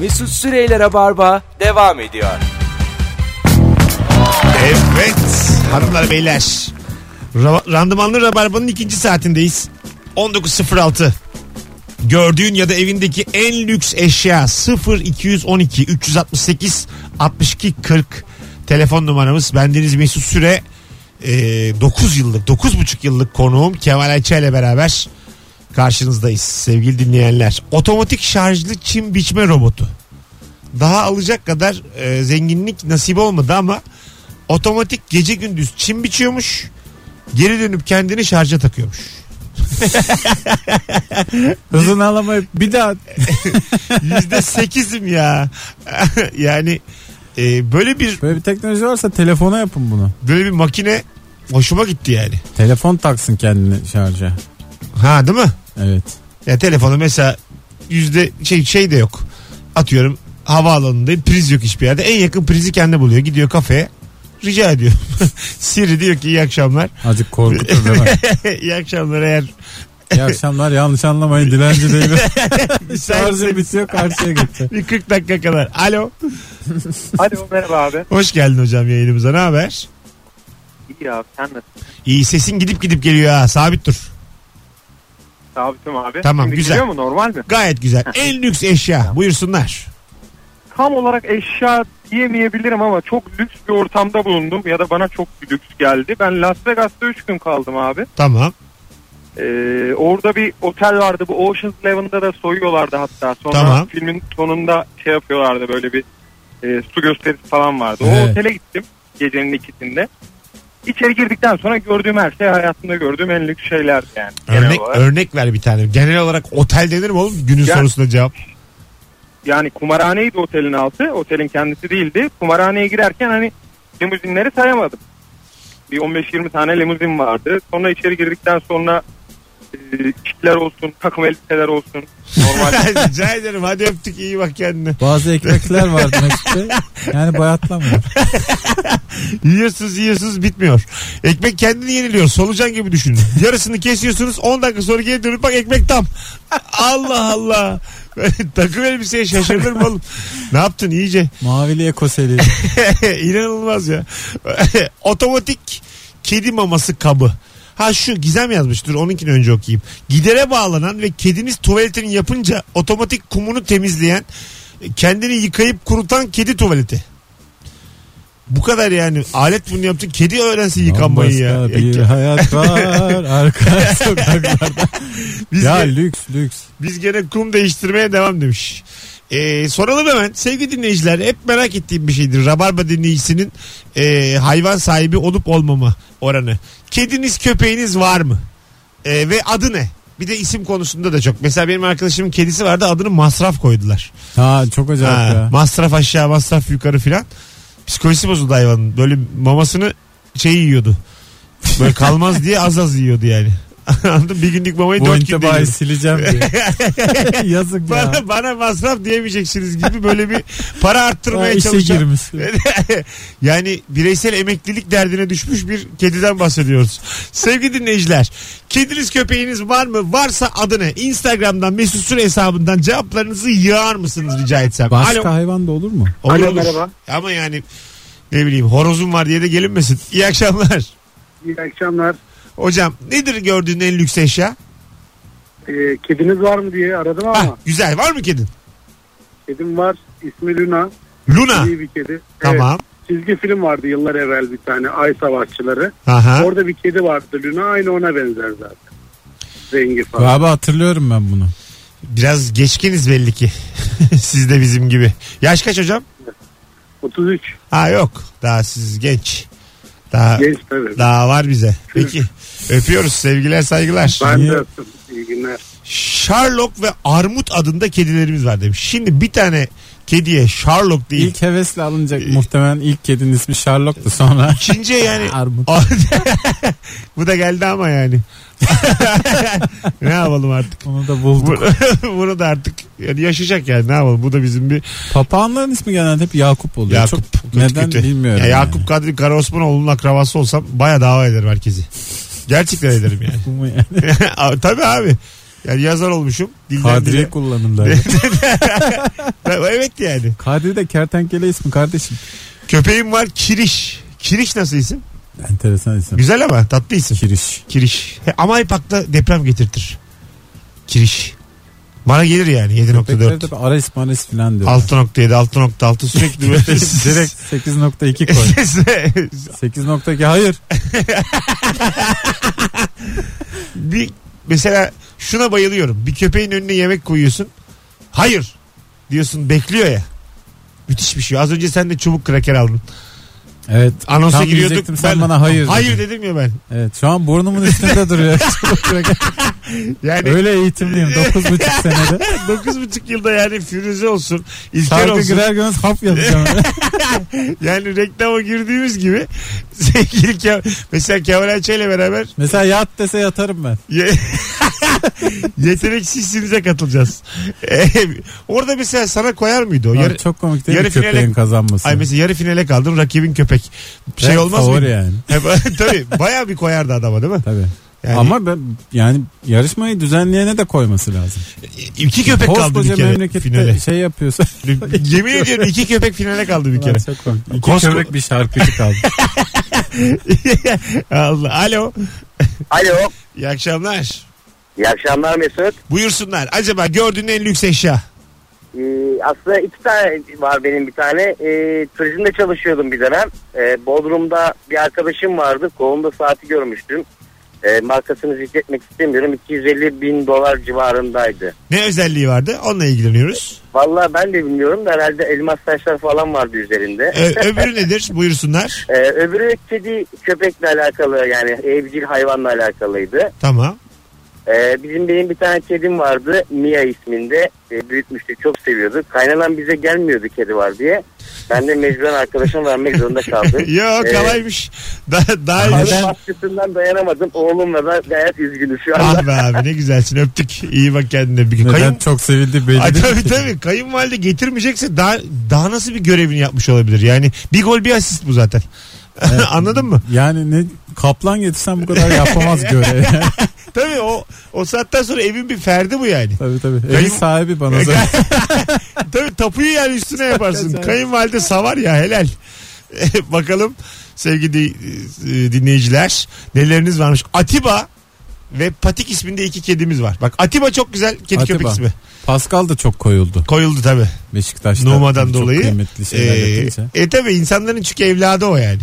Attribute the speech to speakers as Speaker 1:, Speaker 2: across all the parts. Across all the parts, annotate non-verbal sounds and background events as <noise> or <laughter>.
Speaker 1: Mesut Süreyler'e barba devam ediyor.
Speaker 2: Evet hanımlar beyler. Ra- randımanlı Rabarba'nın ikinci saatindeyiz. 19.06 Gördüğün ya da evindeki en lüks eşya 0212 368 62 40 telefon numaramız. Bendeniz Mesut Süre 9 yıllık 9,5 yıllık konuğum Kemal Ayça ile beraber karşınızdayız sevgili dinleyenler. Otomatik şarjlı çim biçme robotu. Daha alacak kadar e, zenginlik nasip olmadı ama otomatik gece gündüz çim biçiyormuş. Geri dönüp kendini şarja takıyormuş.
Speaker 3: Hızını alamayıp bir daha
Speaker 2: Yüzde sekizim ya. <laughs> yani e, böyle bir
Speaker 3: böyle bir teknoloji varsa telefona yapın bunu.
Speaker 2: böyle bir makine hoşuma gitti yani.
Speaker 3: Telefon taksın kendini şarja.
Speaker 2: Ha değil mi?
Speaker 3: Evet.
Speaker 2: Ya telefonu mesela yüzde şey, şey de yok. Atıyorum havaalanındayım priz yok hiçbir yerde. En yakın prizi kendi buluyor. Gidiyor kafeye. Rica ediyor. <laughs> Siri diyor ki iyi akşamlar. <laughs>
Speaker 3: Azıcık korkutur değil mi?
Speaker 2: iyi akşamlar eğer
Speaker 3: İyi akşamlar yanlış anlamayın
Speaker 2: <laughs>
Speaker 3: dilenci değil mi? Şarjı
Speaker 2: müsaitseniz
Speaker 3: bitiyor karşıya gitti.
Speaker 2: bir 40 dakika kadar. Alo.
Speaker 4: Alo merhaba abi.
Speaker 2: Hoş geldin hocam yayınımıza. Ne haber?
Speaker 4: İyi abi sen nasılsın?
Speaker 2: İyi sesin gidip gidip geliyor ha. Sabit dur.
Speaker 4: Sabitim abi.
Speaker 2: Tamam,
Speaker 4: Şimdi
Speaker 2: güzel.
Speaker 4: geliyor mu normal mi?
Speaker 2: Gayet güzel. En lüks eşya. Buyursunlar.
Speaker 4: Tam olarak eşya diyemeyebilirim ama çok lüks bir ortamda bulundum ya da bana çok lüks geldi. Ben Las Vegas'ta 3 gün kaldım abi.
Speaker 2: Tamam.
Speaker 4: Ee, orada bir otel vardı bu Ocean's Eleven'da da soyuyorlardı hatta. Sonra
Speaker 2: Tamam.
Speaker 4: filmin sonunda şey yapıyorlardı böyle bir e, su gösterisi falan vardı.
Speaker 3: Evet.
Speaker 4: O otele gittim gecenin ikisinde. İçeri girdikten sonra gördüğüm her şey hayatımda gördüğüm en lüks şeylerdi yani. genel
Speaker 2: Örnek,
Speaker 4: olarak.
Speaker 2: örnek ver bir tane. Genel olarak otel denir mi oğlum? Günün
Speaker 4: Ya-
Speaker 2: sorusuna
Speaker 4: <laughs>
Speaker 2: cevap.
Speaker 4: yani kumarhaneydi otelin altı. Otelin kendisi değildi. Kumarhaneye girerken hani limuzinleri sayamadım. Bir 15-20 tane limuzin vardı. Sonra içeri girdikten sonra e, kitler olsun, takım elbiseler olsun. Normal
Speaker 2: <laughs> Rica ederim. Hadi öptük. iyi bak kendine.
Speaker 3: Bazı ekmekler vardı Mesut'te. Yani bayatlamıyor.
Speaker 2: Yiyorsunuz yiyorsunuz bitmiyor. Ekmek kendini yeniliyor. Solucan gibi düşünün.
Speaker 4: <laughs>
Speaker 2: Yarısını kesiyorsunuz 10 dakika sonra geri dönüp bak ekmek tam. <laughs> Allah Allah. Takım elbiseye şaşırılır mı oğlum? Ne yaptın iyice?
Speaker 3: Mavili ekoseli.
Speaker 2: <laughs> İnanılmaz ya. Otomatik kedi maması kabı. Ha şu Gizem yazmış dur onunkini önce okuyayım. Gidere bağlanan ve kediniz tuvaletini yapınca otomatik kumunu temizleyen kendini yıkayıp kurutan kedi tuvaleti. Bu kadar yani alet bunu yaptı. Kedi öğrensin yıkanmayı ya.
Speaker 3: Bambaşka bir
Speaker 2: Ya, <laughs>
Speaker 3: hayat var arka sokaklarda.
Speaker 2: Biz,
Speaker 3: ya
Speaker 2: ge-
Speaker 3: lüks lüks.
Speaker 2: biz gene kum değiştirmeye devam demiş. Ee, soralım hemen sevgili dinleyiciler hep merak ettiğim bir şeydir. Rabarba dinleyicisinin e, hayvan sahibi olup olmama oranı. Kediniz köpeğiniz var mı? E, ve adı ne? Bir de isim konusunda da çok. Mesela benim arkadaşımın kedisi vardı adını masraf koydular.
Speaker 3: Ha çok acayip
Speaker 2: Ha,
Speaker 3: ya.
Speaker 2: masraf aşağı masraf yukarı filan. Psikolojisi bozuldu hayvanın. Böyle mamasını şey yiyordu. Böyle kalmaz diye az az yiyordu yani. <laughs> Anladın mı? Bir günlük mamayı
Speaker 3: Bu
Speaker 2: dört günde
Speaker 3: intibayı
Speaker 2: yiyordu. <laughs>
Speaker 3: sileceğim diye. Yazık ya.
Speaker 2: Bana, bana masraf diyemeyeceksiniz gibi böyle bir para
Speaker 3: Ha,
Speaker 2: arttırmaya
Speaker 3: işe
Speaker 2: çalışan.
Speaker 3: girmiş.
Speaker 2: <laughs> yani bireysel emeklilik derdine düşmüş bir kediden bahsediyoruz. Sevgili dinleyiciler, kediniz köpeğiniz var mı? Varsa adı ne? Instagram'dan Mesut Süre hesabından cevaplarınızı yığar mısınız rica etsem?
Speaker 3: Başka hayvan da olur mu?
Speaker 2: Olur,
Speaker 4: Alo,
Speaker 2: olur.
Speaker 5: merhaba.
Speaker 2: Ama yani ne bileyim horozum var diye de gelinmesin. İyi akşamlar.
Speaker 5: İyi akşamlar.
Speaker 2: Hocam nedir gördüğün en lüks eşya?
Speaker 5: Ee, kediniz var mı diye aradım ama
Speaker 2: Hah, güzel var mı kedin?
Speaker 5: kedim var. İsmi Luna.
Speaker 2: Luna.
Speaker 5: İyi bir kedi.
Speaker 2: Tamam.
Speaker 5: Evet, çizgi film vardı yıllar evvel bir tane. Ay Savaşçıları.
Speaker 2: Aha.
Speaker 5: Orada bir kedi vardı Luna. Aynı ona benzer zaten. Rengi falan.
Speaker 3: Galiba hatırlıyorum ben bunu.
Speaker 2: Biraz geçkiniz belli ki. <laughs> siz de bizim gibi. Yaş kaç hocam?
Speaker 5: 33.
Speaker 2: Ha yok. Daha siz genç. Daha
Speaker 5: Genç tabii.
Speaker 2: daha var bize.
Speaker 5: <laughs>
Speaker 2: Peki. Öpüyoruz. Sevgiler, saygılar.
Speaker 5: ben
Speaker 3: Niye?
Speaker 5: de öptüm. İyi günler.
Speaker 2: Sherlock ve Armut adında kedilerimiz var demiş. Şimdi bir tane kediye Sherlock değil.
Speaker 3: İlk hevesle alınacak muhtemelen ilk kedinin ismi
Speaker 2: <laughs>
Speaker 3: Sherlock'tu sonra.
Speaker 2: İkinciye yani
Speaker 3: Armut.
Speaker 2: <laughs> bu da geldi ama yani. <laughs> ne yapalım artık?
Speaker 3: Onu da bulduk.
Speaker 2: Bu- <laughs> Bunu da artık yani yaşayacak yani ne yapalım? Bu da bizim bir
Speaker 3: Papağanların ismi genelde hep Yakup oluyor.
Speaker 2: Yakup.
Speaker 3: Çok neden bilmiyorum.
Speaker 2: Ya
Speaker 3: yani.
Speaker 2: Yakup Kadri Karaosmanoğlu'nun akrabası olsam baya dava ederim herkesi. Gerçekten ederim yani. <laughs>
Speaker 3: Bu mu yani?
Speaker 2: Abi, Tabii abi. Yani yazar olmuşum. Dilden dile.
Speaker 3: Kadriye kullanırlar.
Speaker 2: evet yani.
Speaker 3: <laughs> Kadri de kertenkele ismi kardeşim.
Speaker 2: Köpeğim var Kiriş. Kiriş nasıl isim?
Speaker 3: Enteresan isim.
Speaker 2: Güzel ama tatlı isim.
Speaker 3: Kiriş.
Speaker 2: Kiriş. He, ama hep akla deprem getirtir. Kiriş. Bana gelir yani 7.4.
Speaker 3: Köpekler de Ares Mares filan diyor.
Speaker 2: 6.7, 6.6 sürekli böyle.
Speaker 3: <laughs> Direkt
Speaker 2: <laughs>
Speaker 3: 8.2 koy. 8.2 hayır.
Speaker 2: bir, mesela şuna bayılıyorum. Bir köpeğin önüne yemek koyuyorsun. Hayır diyorsun bekliyor ya. Müthiş bir şey. Az önce sen de çubuk kraker aldın.
Speaker 3: Evet.
Speaker 2: Anonsa
Speaker 3: Tam
Speaker 2: giriyorduk.
Speaker 3: diyecektim, sen bana hayır
Speaker 2: Hayır
Speaker 3: dedin.
Speaker 2: dedim ya ben.
Speaker 3: Evet şu an burnumun
Speaker 2: <laughs>
Speaker 3: üstünde duruyor. <laughs>
Speaker 2: Yani <laughs>
Speaker 3: Öyle eğitimliyim 9,5 senede.
Speaker 2: 9,5 yılda yani Firuze olsun, İlker
Speaker 3: Şarkı
Speaker 2: olsun.
Speaker 3: girer girmez hap yapacağım.
Speaker 2: <laughs> Yani reklama girdiğimiz gibi <laughs> sevgili Kev- mesela Kemal Ayça ile beraber
Speaker 3: Mesela yat dese yatarım ben.
Speaker 2: ye- <laughs> yeteneksizsinize katılacağız. <laughs> Ee, orada mesela sana koyar mıydı o?
Speaker 3: Abi
Speaker 2: Yarı,
Speaker 3: çok komik değil
Speaker 2: yarı
Speaker 3: mi köpeğin
Speaker 2: finale-
Speaker 3: kazanması?
Speaker 2: ay mesela yarı finale kaldım rakibin köpek. Şey
Speaker 3: Ben
Speaker 2: olmaz
Speaker 3: favori
Speaker 2: mı? <laughs>
Speaker 3: yani.
Speaker 2: Tabii bayağı bir koyardı adama değil mi?
Speaker 3: Tabii.
Speaker 2: Yani-
Speaker 3: Ama ben yani yarışmayı düzenleyene de koyması lazım.
Speaker 2: İki köpek kaldı bir
Speaker 3: Koskoca
Speaker 2: kere
Speaker 3: memlekette <laughs>
Speaker 2: finale. <laughs>
Speaker 3: şey yapıyorsa.
Speaker 2: Yemin ediyorum iki köpek finale kaldı bir kere.
Speaker 3: Ulan çok komik. İki
Speaker 2: Kosko-
Speaker 3: köpek bir
Speaker 2: <laughs>
Speaker 3: şarkıcı kaldı.
Speaker 2: Allah. Alo.
Speaker 6: Alo.
Speaker 2: İyi akşamlar.
Speaker 6: İyi akşamlar Mesut.
Speaker 2: Buyursunlar. Acaba gördüğün en lüks eşya.
Speaker 6: Ee, aslında iki tane var benim bir tane. Ee, turizmde çalışıyordum bir dönem. Ee, Bodrum'da bir arkadaşım vardı. Kolunda saati görmüştüm. Ee, markasını zikretmek istemiyorum. 250 bin dolar civarındaydı.
Speaker 2: Ne özelliği vardı? Onunla ilgileniyoruz.
Speaker 6: Vallahi ben de bilmiyorum da herhalde elmas taşlar falan vardı üzerinde.
Speaker 2: Ee, öbürü nedir? Buyursunlar.
Speaker 6: Ee, öbürü kedi köpekle alakalı yani evcil hayvanla alakalıydı.
Speaker 2: Tamam. <laughs>
Speaker 6: Ee, bizim benim bir tane kedim vardı Mia isminde Ee, büyütmüştük çok seviyorduk. Kaynanan bize gelmiyordu kedi var diye. Ben de mecburen arkadaşım vermek zorunda
Speaker 2: <laughs>
Speaker 6: kaldım.
Speaker 2: Yo
Speaker 6: Ee,
Speaker 2: kalaymış. Daha, daha
Speaker 3: Neden?
Speaker 2: iyiymiş.
Speaker 6: Neden? Baskısından dayanamadım. Oğlumla da gayet üzgünüm şu anda.
Speaker 2: Ah be abi ne güzelsin öptük. İyi bak kendine. Bir
Speaker 3: Neden
Speaker 2: kayın...
Speaker 3: çok sevildi belli
Speaker 2: Ay,
Speaker 3: değil
Speaker 2: tabii
Speaker 3: ki.
Speaker 2: tabii kayınvalide getirmeyecekse daha, daha nasıl bir görevini yapmış olabilir? Yani bir gol bir asist bu zaten. <laughs> Anladın mı?
Speaker 3: Yani ne kaplan getirsen bu
Speaker 2: <laughs>
Speaker 3: kadar yapamaz göre.
Speaker 2: Tabii o o saatten sonra evin bir ferdi bu
Speaker 3: <laughs>
Speaker 2: yani.
Speaker 3: <laughs> tabii tabii. Evin
Speaker 2: Kayın- E,
Speaker 3: sahibi bana zaten.
Speaker 2: Tabii tapuyu yani üstüne yaparsın. Kayınvalide savar ya helal. <laughs> Bakalım sevgili di- e, dinleyiciler neleriniz varmış. Atiba ve Patik isminde iki kedimiz var. Bak Atiba çok güzel kedi
Speaker 3: Atiba.
Speaker 2: köpek ismi.
Speaker 3: Pascal da çok koyuldu
Speaker 2: Koyuldu tabii.
Speaker 3: Beşiktaş'ta.
Speaker 2: Numa'dan
Speaker 3: Çok
Speaker 2: dolayı.
Speaker 3: kıymetli şeyler
Speaker 2: Ee,
Speaker 3: yapınca.
Speaker 2: e tabii insanların çünkü evladı o yani.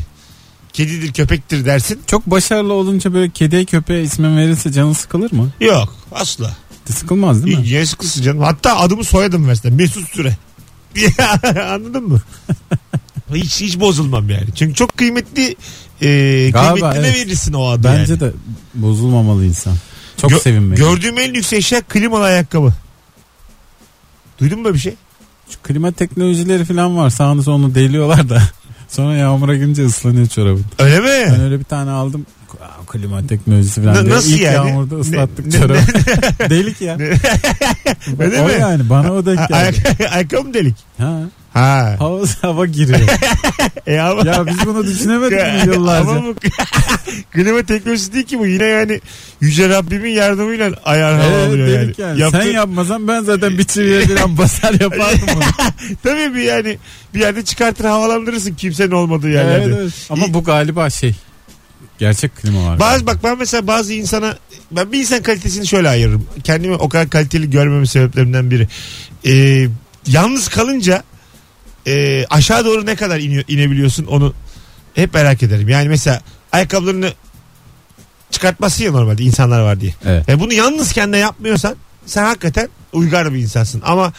Speaker 2: Kedidir köpektir dersin.
Speaker 3: Çok başarılı olunca böyle kediye köpeğe ismi verilse canı sıkılır mı?
Speaker 2: Yok asla.
Speaker 3: Sıkılmaz değil mi?
Speaker 2: Yine sıkılsın canım. Hatta adımı soyadım versen. Mesut Süre. <laughs> Ya, Anladın mı? hiç hiç bozulmam yani. Çünkü çok kıymetli e,
Speaker 3: Galiba,
Speaker 2: kıymetli
Speaker 3: evet.
Speaker 2: verirsin o adı
Speaker 3: Bence
Speaker 2: yani.
Speaker 3: de bozulmamalı insan. Çok
Speaker 2: Gö-
Speaker 3: sevinmeli.
Speaker 2: Gördüğüm en lüks eşya klimalı ayakkabı. Duydun mu böyle bir şey?
Speaker 3: Şu klima teknolojileri falan var. Sağını solunu deliyorlar da. <laughs> Sonra yağmura girince ıslanıyor çorabın.
Speaker 2: Öyle
Speaker 3: Ben
Speaker 2: mi?
Speaker 3: öyle bir tane aldım. Aa, Klima teknolojisi falan.
Speaker 2: Na-
Speaker 3: diye.
Speaker 2: nasıl
Speaker 3: İlk
Speaker 2: yani?
Speaker 3: yağmurda
Speaker 2: Ne-
Speaker 3: ıslattık
Speaker 2: ne-
Speaker 3: çorabı. <laughs> Delik ya.
Speaker 2: Öyle
Speaker 3: o
Speaker 2: mi?
Speaker 3: yani bana o denk
Speaker 2: A-
Speaker 3: geldi.
Speaker 2: ayak- <laughs> ayakkabı mı delik?
Speaker 3: Ha,
Speaker 2: Ha.
Speaker 3: hava, <laughs> hava giriyor.
Speaker 2: E ama...
Speaker 3: ya biz bunu düşünemedik
Speaker 2: Ya,
Speaker 3: mi yıllarca?
Speaker 2: Ama bu <laughs> klima teknolojisi değil ki bu. Yine yani Yüce Rabbimin yardımıyla ayar hava
Speaker 3: Evet,
Speaker 2: oluyor yani.
Speaker 3: delik yani.
Speaker 2: Yaptı-
Speaker 3: Sen yapmasan ben zaten bir çiviye falan basar yapardım
Speaker 2: <laughs>
Speaker 3: onu.
Speaker 2: Tabii bir yani bir yerde çıkartır havalandırırsın kimsenin olmadığı yerlerde.
Speaker 3: Evet, evet. Ama bu galiba şey. Gerçek klima var.
Speaker 2: Bazı bak ben mesela bazı insana ben bir insan kalitesini şöyle ayırırım. Kendimi o kadar kaliteli görmemin sebeplerinden biri. Ee, yalnız kalınca e, aşağı doğru ne kadar iniyor, inebiliyorsun onu hep merak ederim. Yani mesela ayakkabılarını çıkartması ya normalde insanlar var diye.
Speaker 3: Evet.
Speaker 2: E bunu yalnızken de yapmıyorsan sen hakikaten uygar bir insansın. Ama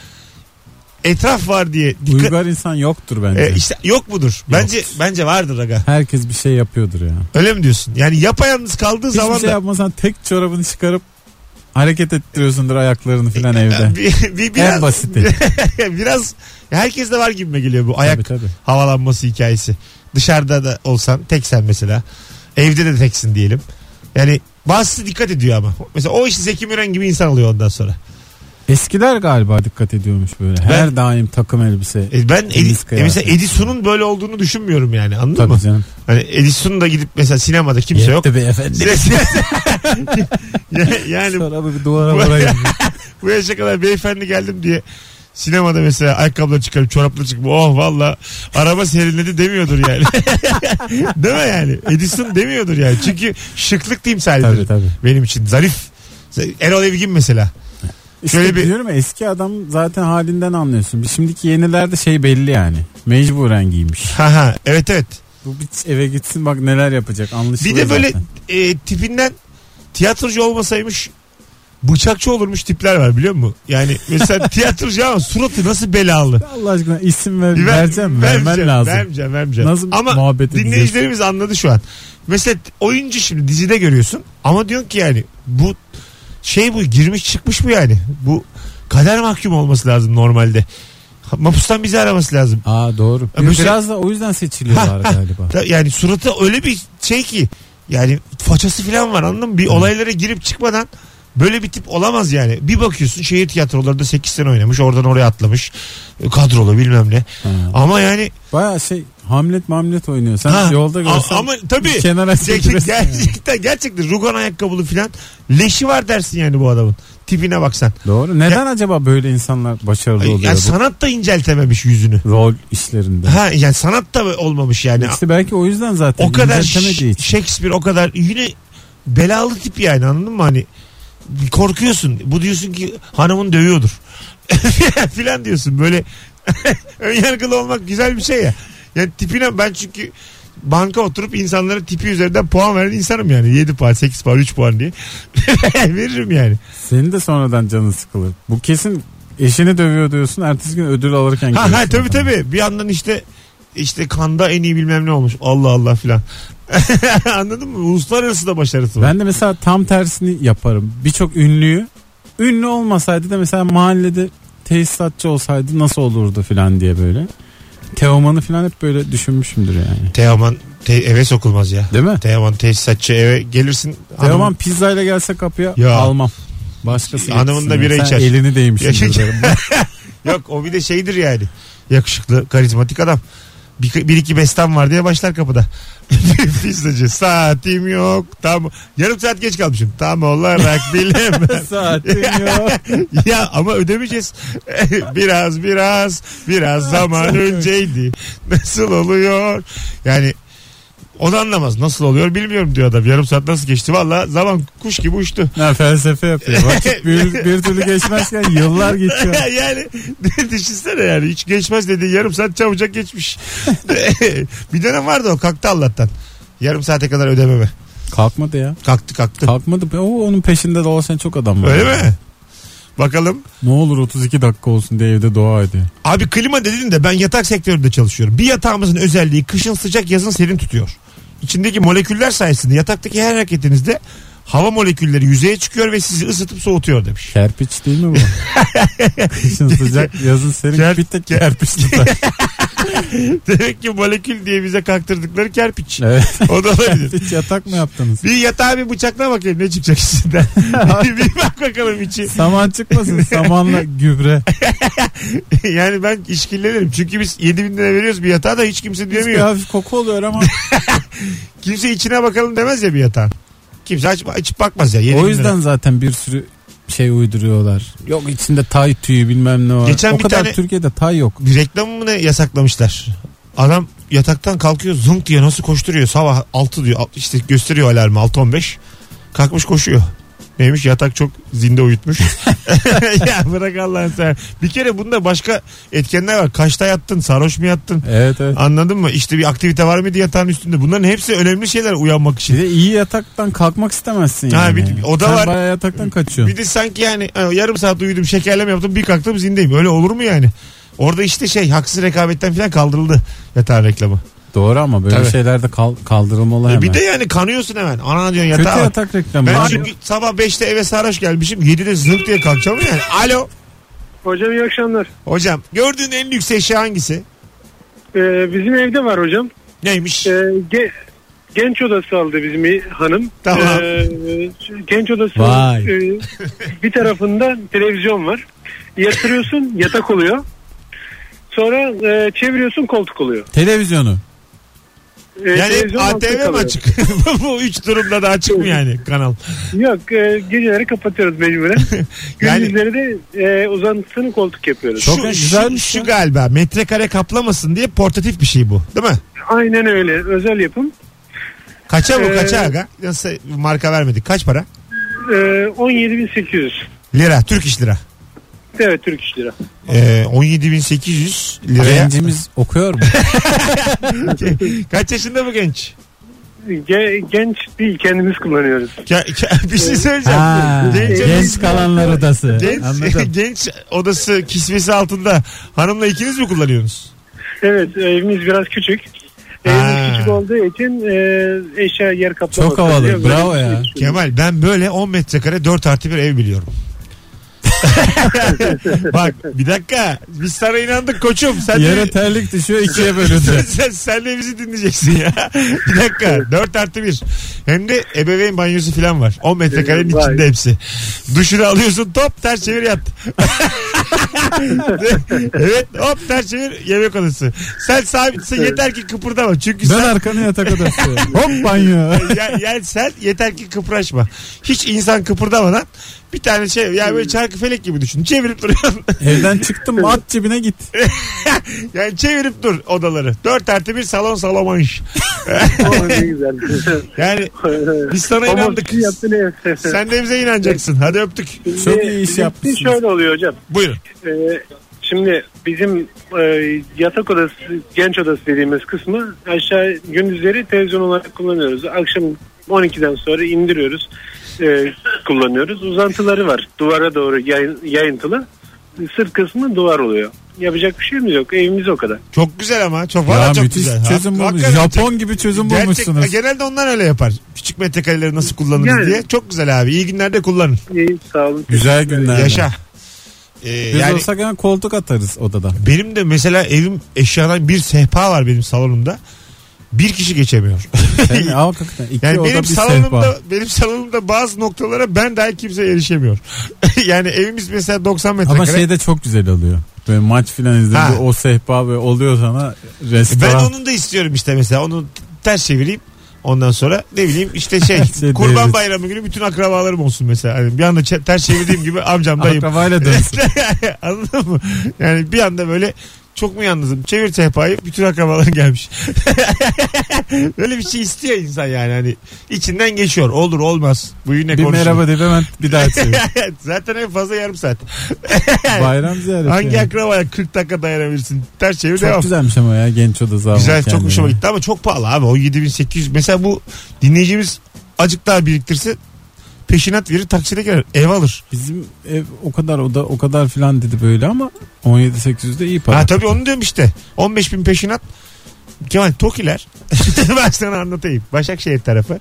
Speaker 2: etraf var diye dikkat-
Speaker 3: Uygar insan yoktur bence.
Speaker 2: E, işte yok mudur? Bence bence vardır aga.
Speaker 3: Herkes bir şey yapıyordur ya.
Speaker 2: Öyle mi diyorsun? Yani yapayalnız kaldığı
Speaker 3: Hiçbir
Speaker 2: zaman
Speaker 3: şey
Speaker 2: da
Speaker 3: yapmasan tek çorabını çıkarıp hareket ettiriyorsundur ayaklarını falan evde.
Speaker 2: E, <laughs> bir, bir-
Speaker 3: En
Speaker 2: biraz
Speaker 3: basiti.
Speaker 2: <laughs> biraz herkes de var gibime geliyor bu ayak
Speaker 3: tabii tabii.
Speaker 2: havalanması hikayesi. Dışarıda da olsan tek sen mesela. Evde de teksin diyelim. Yani bazısı dikkat ediyor ama. Mesela o işte Zeki Müren gibi insan oluyor ondan sonra.
Speaker 3: Eskiler galiba dikkat ediyormuş böyle. Her daim takım elbise.
Speaker 2: E ben Edi,
Speaker 3: Temiz
Speaker 2: e
Speaker 3: kıyafet.
Speaker 2: mesela Edison'un böyle olduğunu düşünmüyorum yani anladın
Speaker 3: Tabii
Speaker 2: mı?
Speaker 3: canım.
Speaker 2: Hani Edison da gidip mesela sinemada kimse yok. <laughs>
Speaker 3: Yetti be efendim. <laughs>
Speaker 2: Ya- yani
Speaker 3: Çorabı bir duvara vurayım.
Speaker 2: <laughs> bu yaşa kadar beyefendi geldim diye Sinemada mesela ayakkabıla çıkarıp çorapla çıkıp oh valla araba serinledi demiyordur yani. <laughs> Değil mi yani? Edison demiyordur yani. Çünkü şıklık diyeyim sadece.
Speaker 3: Tabii, tabii.
Speaker 2: Benim için zarif. Erol Evgin mesela.
Speaker 3: İşte
Speaker 2: Şöyle bir-
Speaker 3: diyorum ya, eski adam zaten halinden anlıyorsun. Şimdiki yenilerde şey belli yani. Mecburen giymiş.
Speaker 2: Ha ha evet evet.
Speaker 3: Bu bir eve gitsin bak neler yapacak anlaşılıyor
Speaker 2: Bir de böyle
Speaker 3: zaten.
Speaker 2: e, tipinden tiyatrocu olmasaymış bıçakçı olurmuş tipler var biliyor musun? Yani
Speaker 3: <laughs>
Speaker 2: mesela tiyatrocu ama suratı nasıl belalı.
Speaker 3: Allah aşkına isim
Speaker 2: Ver-
Speaker 3: ver, vereceğim mi? Vermen
Speaker 2: vermeyeceğim,
Speaker 3: lazım.
Speaker 2: Vermeyeceğim, vermeyeceğim.
Speaker 3: Nasıl
Speaker 2: ama
Speaker 3: muhabbet edeceğiz?
Speaker 2: dinleyicilerimiz anladı şu an. Mesela oyuncu şimdi dizide görüyorsun ama diyorsun ki yani bu şey bu girmiş çıkmış bu yani. Bu kader mahkum olması lazım normalde. Mapustan bizi araması lazım.
Speaker 3: Aa doğru.
Speaker 2: Ya bu şey-
Speaker 3: Biraz da o
Speaker 2: <laughs>
Speaker 3: yüzden seçiliyorlar galiba.
Speaker 2: Ta- Yani suratı öyle bir şey ki yani façası falan var anladın mı? Bir olaylara girip çıkmadan böyle bir tip olamaz yani. Bir bakıyorsun şehir tiyatrolarında 8 sene oynamış oradan oraya atlamış. e, Kadrolu bilmem ne.
Speaker 3: Ha.
Speaker 2: Ama yani
Speaker 3: Baya şey Hamlet mamlet oynuyor. Sen
Speaker 2: Ha,
Speaker 3: yolda
Speaker 2: a-
Speaker 3: görsen
Speaker 2: ama tabii
Speaker 3: kenara
Speaker 2: gerçek,
Speaker 3: çekilirsin. yani.
Speaker 2: gerçekten gerçekten rugan ayakkabılı falan leşi var dersin yani bu adamın. Tipine baksan.
Speaker 3: Doğru. Neden acaba böyle insanlar başarılı
Speaker 2: Yani
Speaker 3: oluyor bu
Speaker 2: sanat da inceltememiş yüzünü.
Speaker 3: rol işlerinde?
Speaker 2: Ha yani sanat da olmamış yani.
Speaker 3: İşte belki o yüzden zaten
Speaker 2: o kadar
Speaker 3: inceltemediği için.
Speaker 2: Shakespeare o kadar yine belalı tip yani anladın mı hani korkuyorsun bu diyorsun ki hanımın dövüyordur <laughs> filan diyorsun böyle <laughs> önyargılı olmak güzel bir şey ya yani tipine ben çünkü banka oturup insanlara tipi üzerinden puan veren insanım yani 7 puan 8 puan 3 puan diye <laughs> veririm yani
Speaker 3: Senin de sonradan canın sıkılır. Bu kesin eşini dövüyor diyorsun. Ertesi gün ödül alırken
Speaker 2: ha ha
Speaker 3: görüyorsun
Speaker 2: tabii
Speaker 3: adamı.
Speaker 2: tabii bir yandan işte işte kanda en iyi bilmem ne olmuş Allah Allah filan <laughs> anladın mı uluslararası da başarısı var
Speaker 3: Ben de mesela tam tersini yaparım. Birçok ünlüyü ünlü olmasaydı da mesela mahallede tesisatçı olsaydı nasıl olurdu filan diye böyle. Teoman'ı filan hep böyle düşünmüşümdür yani.
Speaker 2: Teoman te- eve sokulmaz ya.
Speaker 3: Değil mi?
Speaker 2: Teoman tesisatçı eve gelirsin.
Speaker 3: Teoman
Speaker 2: hanım-
Speaker 3: pizzayla gelse kapıya
Speaker 2: Ya.
Speaker 3: almam. Başkası
Speaker 2: Hanımın
Speaker 3: getirsin
Speaker 2: da
Speaker 3: yani.
Speaker 2: bira
Speaker 3: Sen
Speaker 2: içer.
Speaker 3: elini değmişsindir.
Speaker 2: Yaşa-
Speaker 3: <laughs> derim.
Speaker 2: Yok o bir de şeydir yani. Yakışıklı, karizmatik adam. Bir, bir iki bestem var diye başlar kapıda. <laughs> Pizzacı saatim yok. Tam yarım saat geç kalmışım. Tam olarak bilemem.
Speaker 3: Saatim yok.
Speaker 2: ya ama ödemeyeceğiz. <laughs> biraz biraz biraz zaman önceydi. Nasıl oluyor? Yani o da anlamaz. Nasıl oluyor bilmiyorum diyor adam. Yarım saat nasıl geçti? Valla zaman kuş gibi uçtu.
Speaker 3: Ha,
Speaker 2: <laughs>
Speaker 3: felsefe yapıyor. Vakit bir, bir türlü geçmezken yıllar geçiyor.
Speaker 2: yani <laughs> düşünsene yani hiç geçmez dediğin yarım saat çabucak geçmiş. bir dönem vardı o kalktı Allah'tan. Yarım saate kadar ödememe.
Speaker 3: Kalkmadı ya.
Speaker 2: Kalktı kalktı.
Speaker 3: Kalkmadı. be. O onun peşinde dolaşan çok adam var.
Speaker 2: Öyle mi? Bakalım.
Speaker 3: Ne olur 32 dakika olsun diye evde dua ediyor.
Speaker 2: Abi klima dedin de ben yatak sektöründe çalışıyorum. Bir yatağımızın özelliği kışın sıcak yazın serin tutuyor. İçindeki moleküller sayesinde yataktaki her hareketinizde hava molekülleri yüzeye çıkıyor ve sizi ısıtıp soğutuyor demiş. <laughs>
Speaker 3: Kerpiç değil mi bu? Kışın sıcak yazın serin
Speaker 2: Ker-
Speaker 3: bir tek
Speaker 2: <laughs>
Speaker 3: kerpiç tutar.
Speaker 2: Demek ki molekül diye bize kaktırdıkları kerpiç.
Speaker 3: evet.
Speaker 2: O da olabilir.
Speaker 3: Hiç yatak mı yaptınız?
Speaker 2: Bir yatağa bir bıçakla bakayım ne çıkacak
Speaker 3: <laughs>
Speaker 2: içinden. bir, bir bak bakalım içi. <laughs>
Speaker 3: Saman çıkmasın samanla gübre.
Speaker 2: yani ben işkillenirim. Çünkü biz 7 bin lira veriyoruz bir yatağa da hiç kimse
Speaker 3: Hiçbir
Speaker 2: diyemiyor.
Speaker 3: hafif koku
Speaker 2: <laughs>
Speaker 3: oluyor ama
Speaker 2: Kimse içine bakalım demez ya bir yatağın. Kimse aç, açıp bakmaz ya. 7 bin
Speaker 3: o
Speaker 2: lira.
Speaker 3: yüzden zaten bir sürü şey uyduruyorlar. Yok içinde tay tüyü bilmem ne var.
Speaker 2: Geçen
Speaker 3: o
Speaker 2: bir
Speaker 3: kadar
Speaker 2: tane-
Speaker 3: Türkiye'de tay yok.
Speaker 2: Bir reklamı mı ne yasaklamışlar. Adam yataktan kalkıyor zunk diye nasıl koşturuyor. Sabah 6 diyor Alt- işte gösteriyor alarmı 6.15. Kalkmış koşuyor. Neymiş yatak çok zinde
Speaker 3: <laughs>
Speaker 2: uyutmuş. <laughs> ya bırak Allah'ını sen. Bir kere bunda başka etkenler var. Kaçta yattın sarhoş mu yattın?
Speaker 3: Evet evet.
Speaker 2: Anladın mı? İşte bir aktivite var mıydı yatağın üstünde? Bunların hepsi önemli şeyler uyanmak
Speaker 3: Bir
Speaker 2: için.
Speaker 3: de iyi yataktan kalkmak istemezsin
Speaker 2: Ha,
Speaker 3: yani.
Speaker 2: bir- o da
Speaker 3: Sen
Speaker 2: var.
Speaker 3: bayağı yataktan kaçıyorsun.
Speaker 2: Bir de sanki yani e, yarım saat uyudum şekerleme yaptım bir kalktım zindeyim. Öyle olur mu yani? Orada işte şey haksız rekabetten falan kaldırıldı yatağın reklamı.
Speaker 3: Doğru ama böyle
Speaker 2: Tabii.
Speaker 3: şeylerde kal- kaldırılmalı
Speaker 2: E,
Speaker 3: hemen.
Speaker 2: bir de yani kanıyorsun hemen. Ana diyorsun
Speaker 3: Kötü
Speaker 2: yatağa bak.
Speaker 3: yatak reklamı.
Speaker 2: Ben
Speaker 3: Abi,
Speaker 2: çünkü sabah 5'te eve sarhoş gelmişim. 7'de zınk diye kalkacağım
Speaker 5: <laughs>
Speaker 2: yani. Alo.
Speaker 5: Hocam iyi akşamlar.
Speaker 2: Hocam gördüğün en lüks eşya hangisi?
Speaker 5: Ee, bizim evde var hocam.
Speaker 2: Neymiş?
Speaker 5: Ee, ge- genç odası aldı bizim i- hanım.
Speaker 2: Tamam.
Speaker 5: Ee, genç odası
Speaker 3: Vay.
Speaker 5: e, bir tarafında televizyon var. Yatırıyorsun yatak oluyor. Sonra e, çeviriyorsun koltuk oluyor.
Speaker 3: Televizyonu.
Speaker 5: e,
Speaker 2: Yani hep
Speaker 5: televizyon altı
Speaker 2: ATV mi
Speaker 5: kalıyor.
Speaker 2: açık? <laughs> Bu üç durumda da açık mı
Speaker 5: <laughs>
Speaker 2: yani kanal?
Speaker 5: Yok e, geceleri kapatıyoruz mecburen.
Speaker 2: <laughs> Yani
Speaker 5: Gündüzleri de e, uzantısını koltuk yapıyoruz.
Speaker 2: şu,
Speaker 3: Çok
Speaker 2: şu,
Speaker 3: güzelmiş
Speaker 2: şu
Speaker 3: ya.
Speaker 2: galiba metrekare kaplamasın diye portatif bir şey bu değil mi?
Speaker 5: Aynen öyle özel yapım.
Speaker 2: Kaça bu
Speaker 5: Ee,
Speaker 2: kaça aga? Nasıl marka vermedik kaç para?
Speaker 5: E, 17.800
Speaker 2: Lira Türk iş lira.
Speaker 5: evet Türk İş Lira.
Speaker 2: Ee, 17.800 liraya.
Speaker 3: Gencimiz okuyor mu?
Speaker 2: <laughs> Kaç yaşında bu genç?
Speaker 5: Ge- genç değil kendimiz kullanıyoruz.
Speaker 2: Ke- ke- <laughs> bir şey söyleyeceğim.
Speaker 3: ha,
Speaker 2: Genç-
Speaker 3: genç kalanlar odası. Anladım.
Speaker 2: Genç, <laughs> genç odası kisvesi altında hanımla ikiniz mi kullanıyorsunuz?
Speaker 5: Evet e, evimiz biraz küçük.
Speaker 2: Ha.
Speaker 5: Evimiz küçük olduğu için e, eşya yer kaplamaz.
Speaker 3: Çok havalı,
Speaker 5: Böyle
Speaker 3: bravo
Speaker 5: bir- <laughs>
Speaker 3: ya.
Speaker 2: Kemal ben böyle 10 metrekare 4 artı bir ev biliyorum. <laughs> Bak bir dakika biz sana inandık koçum sen
Speaker 3: Yere
Speaker 2: de,
Speaker 3: terlik düşüyor ikiye <laughs> bölündü.
Speaker 2: sen, sen de bizi dinleyeceksin ya. <laughs> bir dakika 4 artı bir. hem de ebeveyn banyosu falan var 10 metrekarenin
Speaker 5: Vay.
Speaker 2: içinde hepsi. Duşunu alıyorsun top ters çevir yat. <laughs> evet hop ters çevir yemek odası. Sen sabitsin yeter ki kıpırdama çünkü
Speaker 3: Dön
Speaker 2: sen
Speaker 3: arkanı yatak odası. <laughs> Hop banyo.
Speaker 2: ya, yani sen yeter ki kıpraşma. Hiç insan kıpırdamadan bir tane şey yani böyle çarkı felek gibi düşün. Çevirip duruyorsun. <laughs>
Speaker 3: <laughs> Evden çıktım mı at cebine <laughs> git.
Speaker 2: yani çevirip dur odaları. Dört artı bir salon salamanş.
Speaker 5: Aman ne güzel.
Speaker 2: Yani biz sana
Speaker 5: Babam
Speaker 2: inandık.
Speaker 5: şey yaptı ne?
Speaker 2: Sen de bize inanacaksın. Hadi öptük.
Speaker 5: Şimdi
Speaker 3: Çok iyi iş
Speaker 5: bizim
Speaker 3: yapmışsınız.
Speaker 5: Şöyle oluyor hocam.
Speaker 2: Buyurun.
Speaker 5: Ee, şimdi bizim e, yatak odası, genç odası dediğimiz kısmı aşağı gündüzleri televizyon olarak kullanıyoruz. Akşam 12'den sonra indiriyoruz, e, kullanıyoruz. Uzantıları var duvara doğru yayın, yayıntılı. Sırt kısmı duvar oluyor. Yapacak bir şeyimiz yok. Evimiz o kadar.
Speaker 2: Çok güzel ama. Çok
Speaker 3: Ya
Speaker 2: valla çok
Speaker 3: müthiş
Speaker 2: güzel.
Speaker 3: çözüm
Speaker 2: Hak-
Speaker 3: bulmuş.
Speaker 2: hakikaten
Speaker 3: Japon gibi çözüm
Speaker 2: Gerçek-
Speaker 3: bulmuşsunuz.
Speaker 2: genelde onlar öyle yapar. Küçük metrekareleri nasıl kullanırız
Speaker 5: Yani.
Speaker 2: diye. Çok güzel abi. İyi günlerde kullanın.
Speaker 5: İyi, sağ olun.
Speaker 3: Güzel günler.
Speaker 2: Yaşa. Ee,
Speaker 3: Biz olsak hemen koltuk atarız odada.
Speaker 2: Benim de mesela evim eşyadan bir sehpa var benim salonumda. Bir kişi
Speaker 3: <laughs>
Speaker 2: geçemiyor.
Speaker 3: Yani, al hakikaten iki
Speaker 2: Yani
Speaker 3: oda
Speaker 2: benim
Speaker 3: bir sehpa.
Speaker 2: salonumda benim salonumda bazı noktalara ben dahi kimse erişemiyor. <laughs> yani evimiz mesela 90 metrekare.
Speaker 3: Ama şey de çok güzel oluyor. Böyle maç filan
Speaker 2: Ha.
Speaker 3: izlediğinde o sehpa ve oluyor sana
Speaker 2: ben
Speaker 3: restoran.
Speaker 2: onun da istiyorum işte mesela onu ters çevireyim. Ondan sonra ne bileyim
Speaker 3: <laughs>
Speaker 2: işte şey,
Speaker 3: Şey
Speaker 2: kurban
Speaker 3: deriz.
Speaker 2: bayramı günü bütün akrabalarım olsun mesela. Hani bir anda çe- ters çevirdiğim gibi amcam dayım. <laughs>
Speaker 3: Akrabayla <laughs> dönsün.
Speaker 2: Anladın mı? Yani bir anda böyle çok mu yalnızım? Çevir sehpayı bütün akrabaların gelmiş. <laughs> Böyle bir şey istiyor insan yani. Hani içinden geçiyor. Olur olmaz. Bu yine
Speaker 3: bir
Speaker 2: konuşulur. <laughs>
Speaker 3: merhaba deyip hemen bir daha çevir. <laughs>
Speaker 2: Zaten en fazla yarım saat.
Speaker 3: Bayram ziyareti.
Speaker 2: Hangi
Speaker 3: yani.
Speaker 2: akrabaya 40 dakika dayanabilirsin? Ters çevir
Speaker 3: Çok
Speaker 2: devam.
Speaker 3: güzelmiş ama ya genç odası. almak
Speaker 2: Güzel çok
Speaker 3: kendine.
Speaker 2: hoşuma gitti ama çok pahalı abi. O 7800 mesela bu dinleyicimiz acık daha biriktirse peşinat verir takside girer ev alır.
Speaker 3: Bizim ev o kadar oda o kadar filan dedi böyle ama 17-800'de iyi para.
Speaker 2: Ha tabii onu diyorum işte. 15 bin peşinat. Kemal Tokiler. <laughs> ben sana anlatayım. Başakşehir tarafı.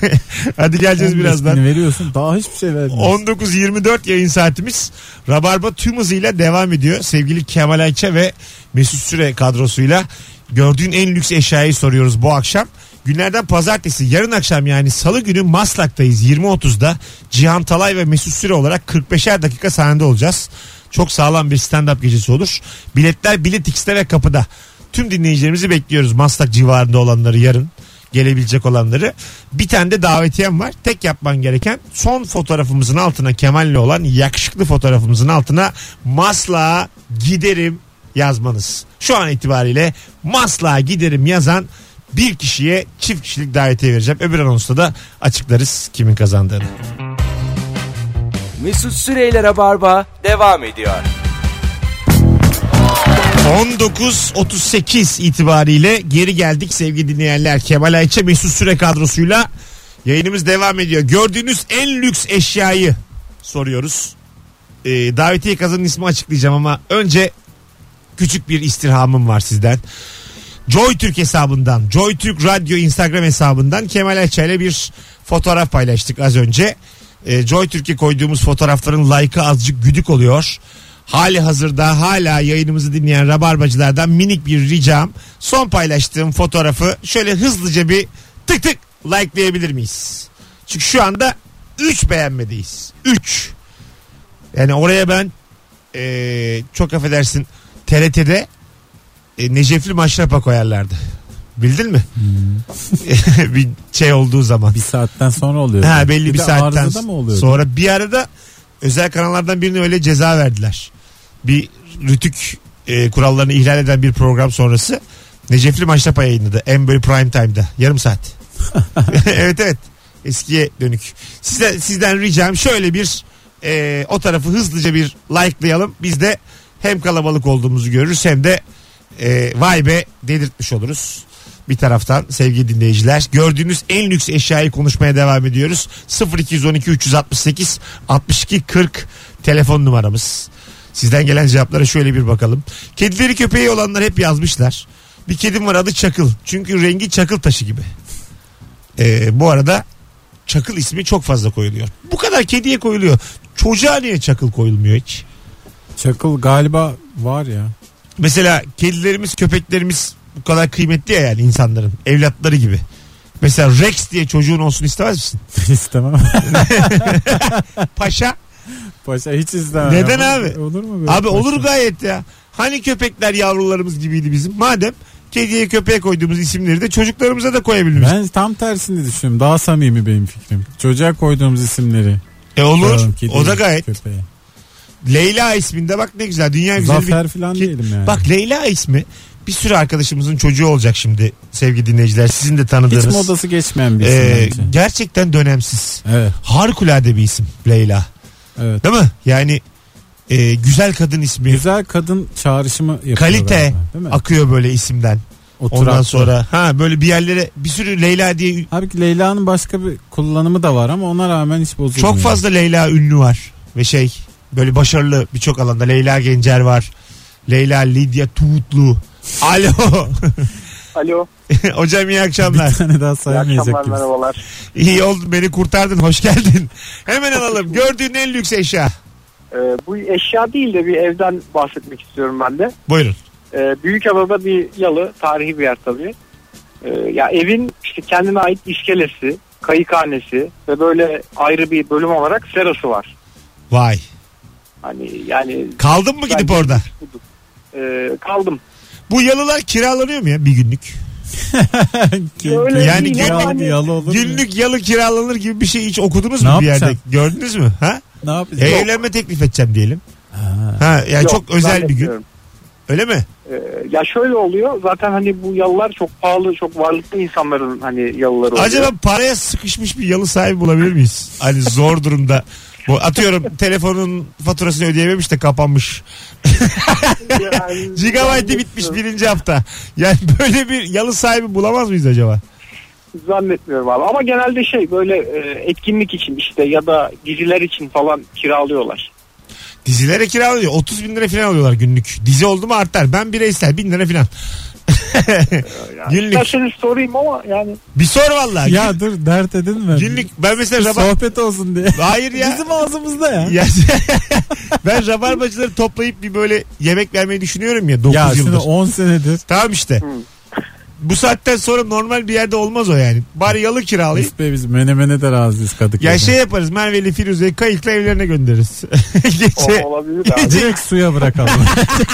Speaker 2: <laughs> Hadi geleceğiz
Speaker 3: 15
Speaker 2: birazdan.
Speaker 3: bini veriyorsun daha hiçbir şey vermiyorsun.
Speaker 2: 19.24 yayın saatimiz. Rabarba tüm hızıyla devam ediyor. Sevgili Kemal Ayça ve Mesut Süre kadrosuyla gördüğün en lüks eşyayı soruyoruz bu akşam. Günlerden pazartesi yarın akşam yani salı günü Maslak'tayız 20.30'da. Cihan Talay ve Mesut Süre olarak 45'er dakika sahnede olacağız. Çok sağlam bir stand-up gecesi olur. Biletler Bilet X'te ve kapıda. Tüm dinleyicilerimizi bekliyoruz Maslak civarında olanları yarın gelebilecek olanları. Bir tane de davetiyem var. Tek yapman gereken son fotoğrafımızın altına Kemal'le olan yakışıklı fotoğrafımızın altına Maslak'a giderim yazmanız. Şu an itibariyle Maslak'a giderim yazan bir kişiye çift kişilik davetiye vereceğim. Öbür anonsta da açıklarız kimin kazandığını.
Speaker 1: Mesut Süreyler'e barba devam ediyor.
Speaker 2: 19.38 itibariyle geri geldik sevgili dinleyenler. Kemal Ayça Mesut Süre kadrosuyla yayınımız devam ediyor. Gördüğünüz en lüks eşyayı soruyoruz. Ee, davetiye kazanın ismi açıklayacağım ama önce küçük bir istirhamım var sizden. Joy Türk hesabından, Joy Türk Radyo Instagram hesabından Kemal Ayça ile bir fotoğraf paylaştık az önce. Ee, Joy Türk'e koyduğumuz fotoğrafların like'ı azıcık güdük oluyor. Hali hazırda hala yayınımızı dinleyen rabarbacılardan minik bir ricam. Son paylaştığım fotoğrafı şöyle hızlıca bir tık tık likelayabilir miyiz? Çünkü şu anda 3 beğenmedeyiz. 3. Yani oraya ben ee, çok affedersin TRT'de e, Necefli Maşrapa e, koyarlardı. Bildin mi? <laughs> bir şey olduğu zaman.
Speaker 3: Hmm. Bir saatten sonra oluyor.
Speaker 2: Ha belli bir,
Speaker 3: de
Speaker 2: saatten
Speaker 3: arızada mı oluyor?
Speaker 2: sonra bir arada özel kanallardan birine öyle ceza verdiler. Bir rütük e, kurallarını ihlal eden bir program sonrası Necefli Maçtapa yayınladı. En böyle prime time'da. Yarım saat. <laughs> evet evet. Eskiye dönük. Size, sizden ricam şöyle bir e, o tarafı hızlıca bir likelayalım. Biz de hem kalabalık olduğumuzu görürüz hem de e, vay be dedirtmiş oluruz. Bir taraftan sevgili dinleyiciler gördüğünüz en lüks eşyayı konuşmaya devam ediyoruz. 0212 368 62 40 telefon numaramız. Sizden gelen cevaplara şöyle bir bakalım. Kedileri köpeği olanlar hep yazmışlar. Bir kedim var adı Çakıl. Çünkü rengi çakıl taşı gibi. E, bu arada çakıl ismi çok fazla koyuluyor. Bu kadar kediye koyuluyor. Çocuğa niye çakıl koyulmuyor hiç?
Speaker 3: Çakıl galiba var ya. <laughs>
Speaker 2: Mesela kedilerimiz köpeklerimiz bu kadar kıymetli ya yani insanların evlatları gibi. Mesela Rex diye çocuğun olsun istemez misin? <laughs>
Speaker 3: İstemem. <laughs>
Speaker 2: Paşa.
Speaker 3: Paşa hiç istemem.
Speaker 2: Neden
Speaker 3: Ya.
Speaker 2: abi?
Speaker 3: Olur mu böyle?
Speaker 2: Abi olur
Speaker 3: paşa?
Speaker 2: gayet ya. Hani köpekler yavrularımız gibiydi bizim. Madem kediye köpeğe koyduğumuz isimleri de çocuklarımıza da koyabilmiş.
Speaker 3: Ben tam tersini düşünüyorum. Daha samimi benim fikrim. Çocuğa koyduğumuz isimleri.
Speaker 2: E olur.
Speaker 3: Koyalım kediye,
Speaker 2: O da gayet.
Speaker 3: köpeğe.
Speaker 2: Leyla isminde bak ne güzel. Dünya güzeli bir
Speaker 3: Zafer falan
Speaker 2: Ki-
Speaker 3: diyelim yani.
Speaker 2: Bak Leyla ismi bir sürü arkadaşımızın çocuğu olacak şimdi sevgili dinleyiciler. Sizin de
Speaker 3: hiç
Speaker 2: tanıdığınız.
Speaker 3: modası geçmeyen bir isim
Speaker 2: Ee,
Speaker 3: bence.
Speaker 2: gerçekten dönemsiz.
Speaker 3: Evet,
Speaker 2: Harikulade bir isim Leyla.
Speaker 3: evet.
Speaker 2: Değil mi? Yani e, güzel kadın ismi.
Speaker 3: Güzel kadın çağrışımı yapıyor.
Speaker 2: Kalite
Speaker 3: galiba, değil mi?
Speaker 2: akıyor böyle isimden.
Speaker 3: Oturaklı.
Speaker 2: Ondan sonra ha böyle bir yerlere bir sürü Leyla diye
Speaker 3: Halbuki Leyla'nın başka bir kullanımı da var ama ona rağmen hiç bozulmuyor.
Speaker 2: çok
Speaker 3: <laughs>
Speaker 2: fazla Leyla ünlü var ve şey böyle başarılı birçok alanda Leyla Gencer var. Leyla Lidya Tuğutlu. Alo. <laughs>
Speaker 7: Alo.
Speaker 2: Hocam iyi akşamlar.
Speaker 3: bir tane Hani daha
Speaker 7: İyi akşamlar
Speaker 3: saymayacak gibi. <laughs>
Speaker 7: merhabalar.
Speaker 2: İyi oldu beni kurtardın hoş geldin.
Speaker 3: <laughs>
Speaker 2: Hemen alalım gördüğün en lüks eşya.
Speaker 7: Ee, bu eşya değil de bir evden bahsetmek istiyorum ben de.
Speaker 2: Buyurun.
Speaker 7: Ee, Büyükada'da bir yalı tarihi bir yer tabii. Ee, ya evin işte kendine ait iskelesi, kayıkhanesi ve böyle ayrı bir bölüm olarak serası var.
Speaker 2: Vay.
Speaker 7: Hani yani
Speaker 2: Kaldın mı gidip orada?
Speaker 7: e, kaldım.
Speaker 2: Bu yalılar kiralanıyor mu ya bir günlük?
Speaker 7: Öyle
Speaker 2: Yani
Speaker 7: değil
Speaker 2: günlük-
Speaker 7: hani-
Speaker 3: yalı olur mu?
Speaker 2: Günlük yalı kiralanır gibi bir şey hiç okudunuz
Speaker 3: Ne
Speaker 2: mu bir yerde?
Speaker 3: yapacaksın?
Speaker 2: Gördünüz mü? Ha?
Speaker 3: Ne yapacağız?
Speaker 2: Evlenme teklif edeceğim diyelim.
Speaker 3: Ha.
Speaker 2: Ha, yani
Speaker 7: Yok,
Speaker 2: E, çok özel bir gün.
Speaker 7: zannetmiyorum.
Speaker 2: Öyle mi?
Speaker 7: Ee, ya şöyle oluyor zaten hani bu yalılar çok pahalı çok varlıklı insanların hani yalıları oluyor.
Speaker 2: Acaba paraya sıkışmış bir yalı sahibi bulabilir miyiz? Hani zor durumda. Bu atıyorum telefonun faturasını ödeyememiş de kapanmış.
Speaker 7: Yani-
Speaker 2: Gigabyte'i bitmiş birinci hafta. Yani böyle bir yalı sahibi bulamaz mıyız acaba?
Speaker 7: Zannetmiyorum abi ama genelde şey böyle e, etkinlik için işte ya da diziler için falan kiralıyorlar.
Speaker 2: Dizilere kiralıyor. 30 bin lira falan alıyorlar günlük. Dizi oldu mu artar. Ben bireysel 1000 lira falan.
Speaker 7: Yani
Speaker 2: günlük.
Speaker 7: İsterseniz sorayım ama yani
Speaker 2: Bir sor vallahi.
Speaker 3: Ya dur dert edin mi?
Speaker 2: Günlük ben mesela rabar...
Speaker 3: Sohbet olsun diye.
Speaker 2: Hayır ya.
Speaker 3: <laughs> Bizim ağzımızda ya.
Speaker 2: ya <laughs> ben rabarbacıları toplayıp bir böyle yemek vermeyi düşünüyorum ya 9
Speaker 3: Ya
Speaker 2: yıldır.
Speaker 3: şimdi 10 senedir
Speaker 2: Tamam işte. Bu saatten sonra normal bir yerde olmaz o yani. Bari yalı kiralayıp
Speaker 3: biz, be- biz menemene de razıyız Kadıköy'de.
Speaker 2: ya şey yaparız Merve'li Firuze'yi kayıkla evlerine göndeririz. <laughs> Gece
Speaker 7: o olabilir abi.
Speaker 3: <laughs> Direkt suya bırakalım.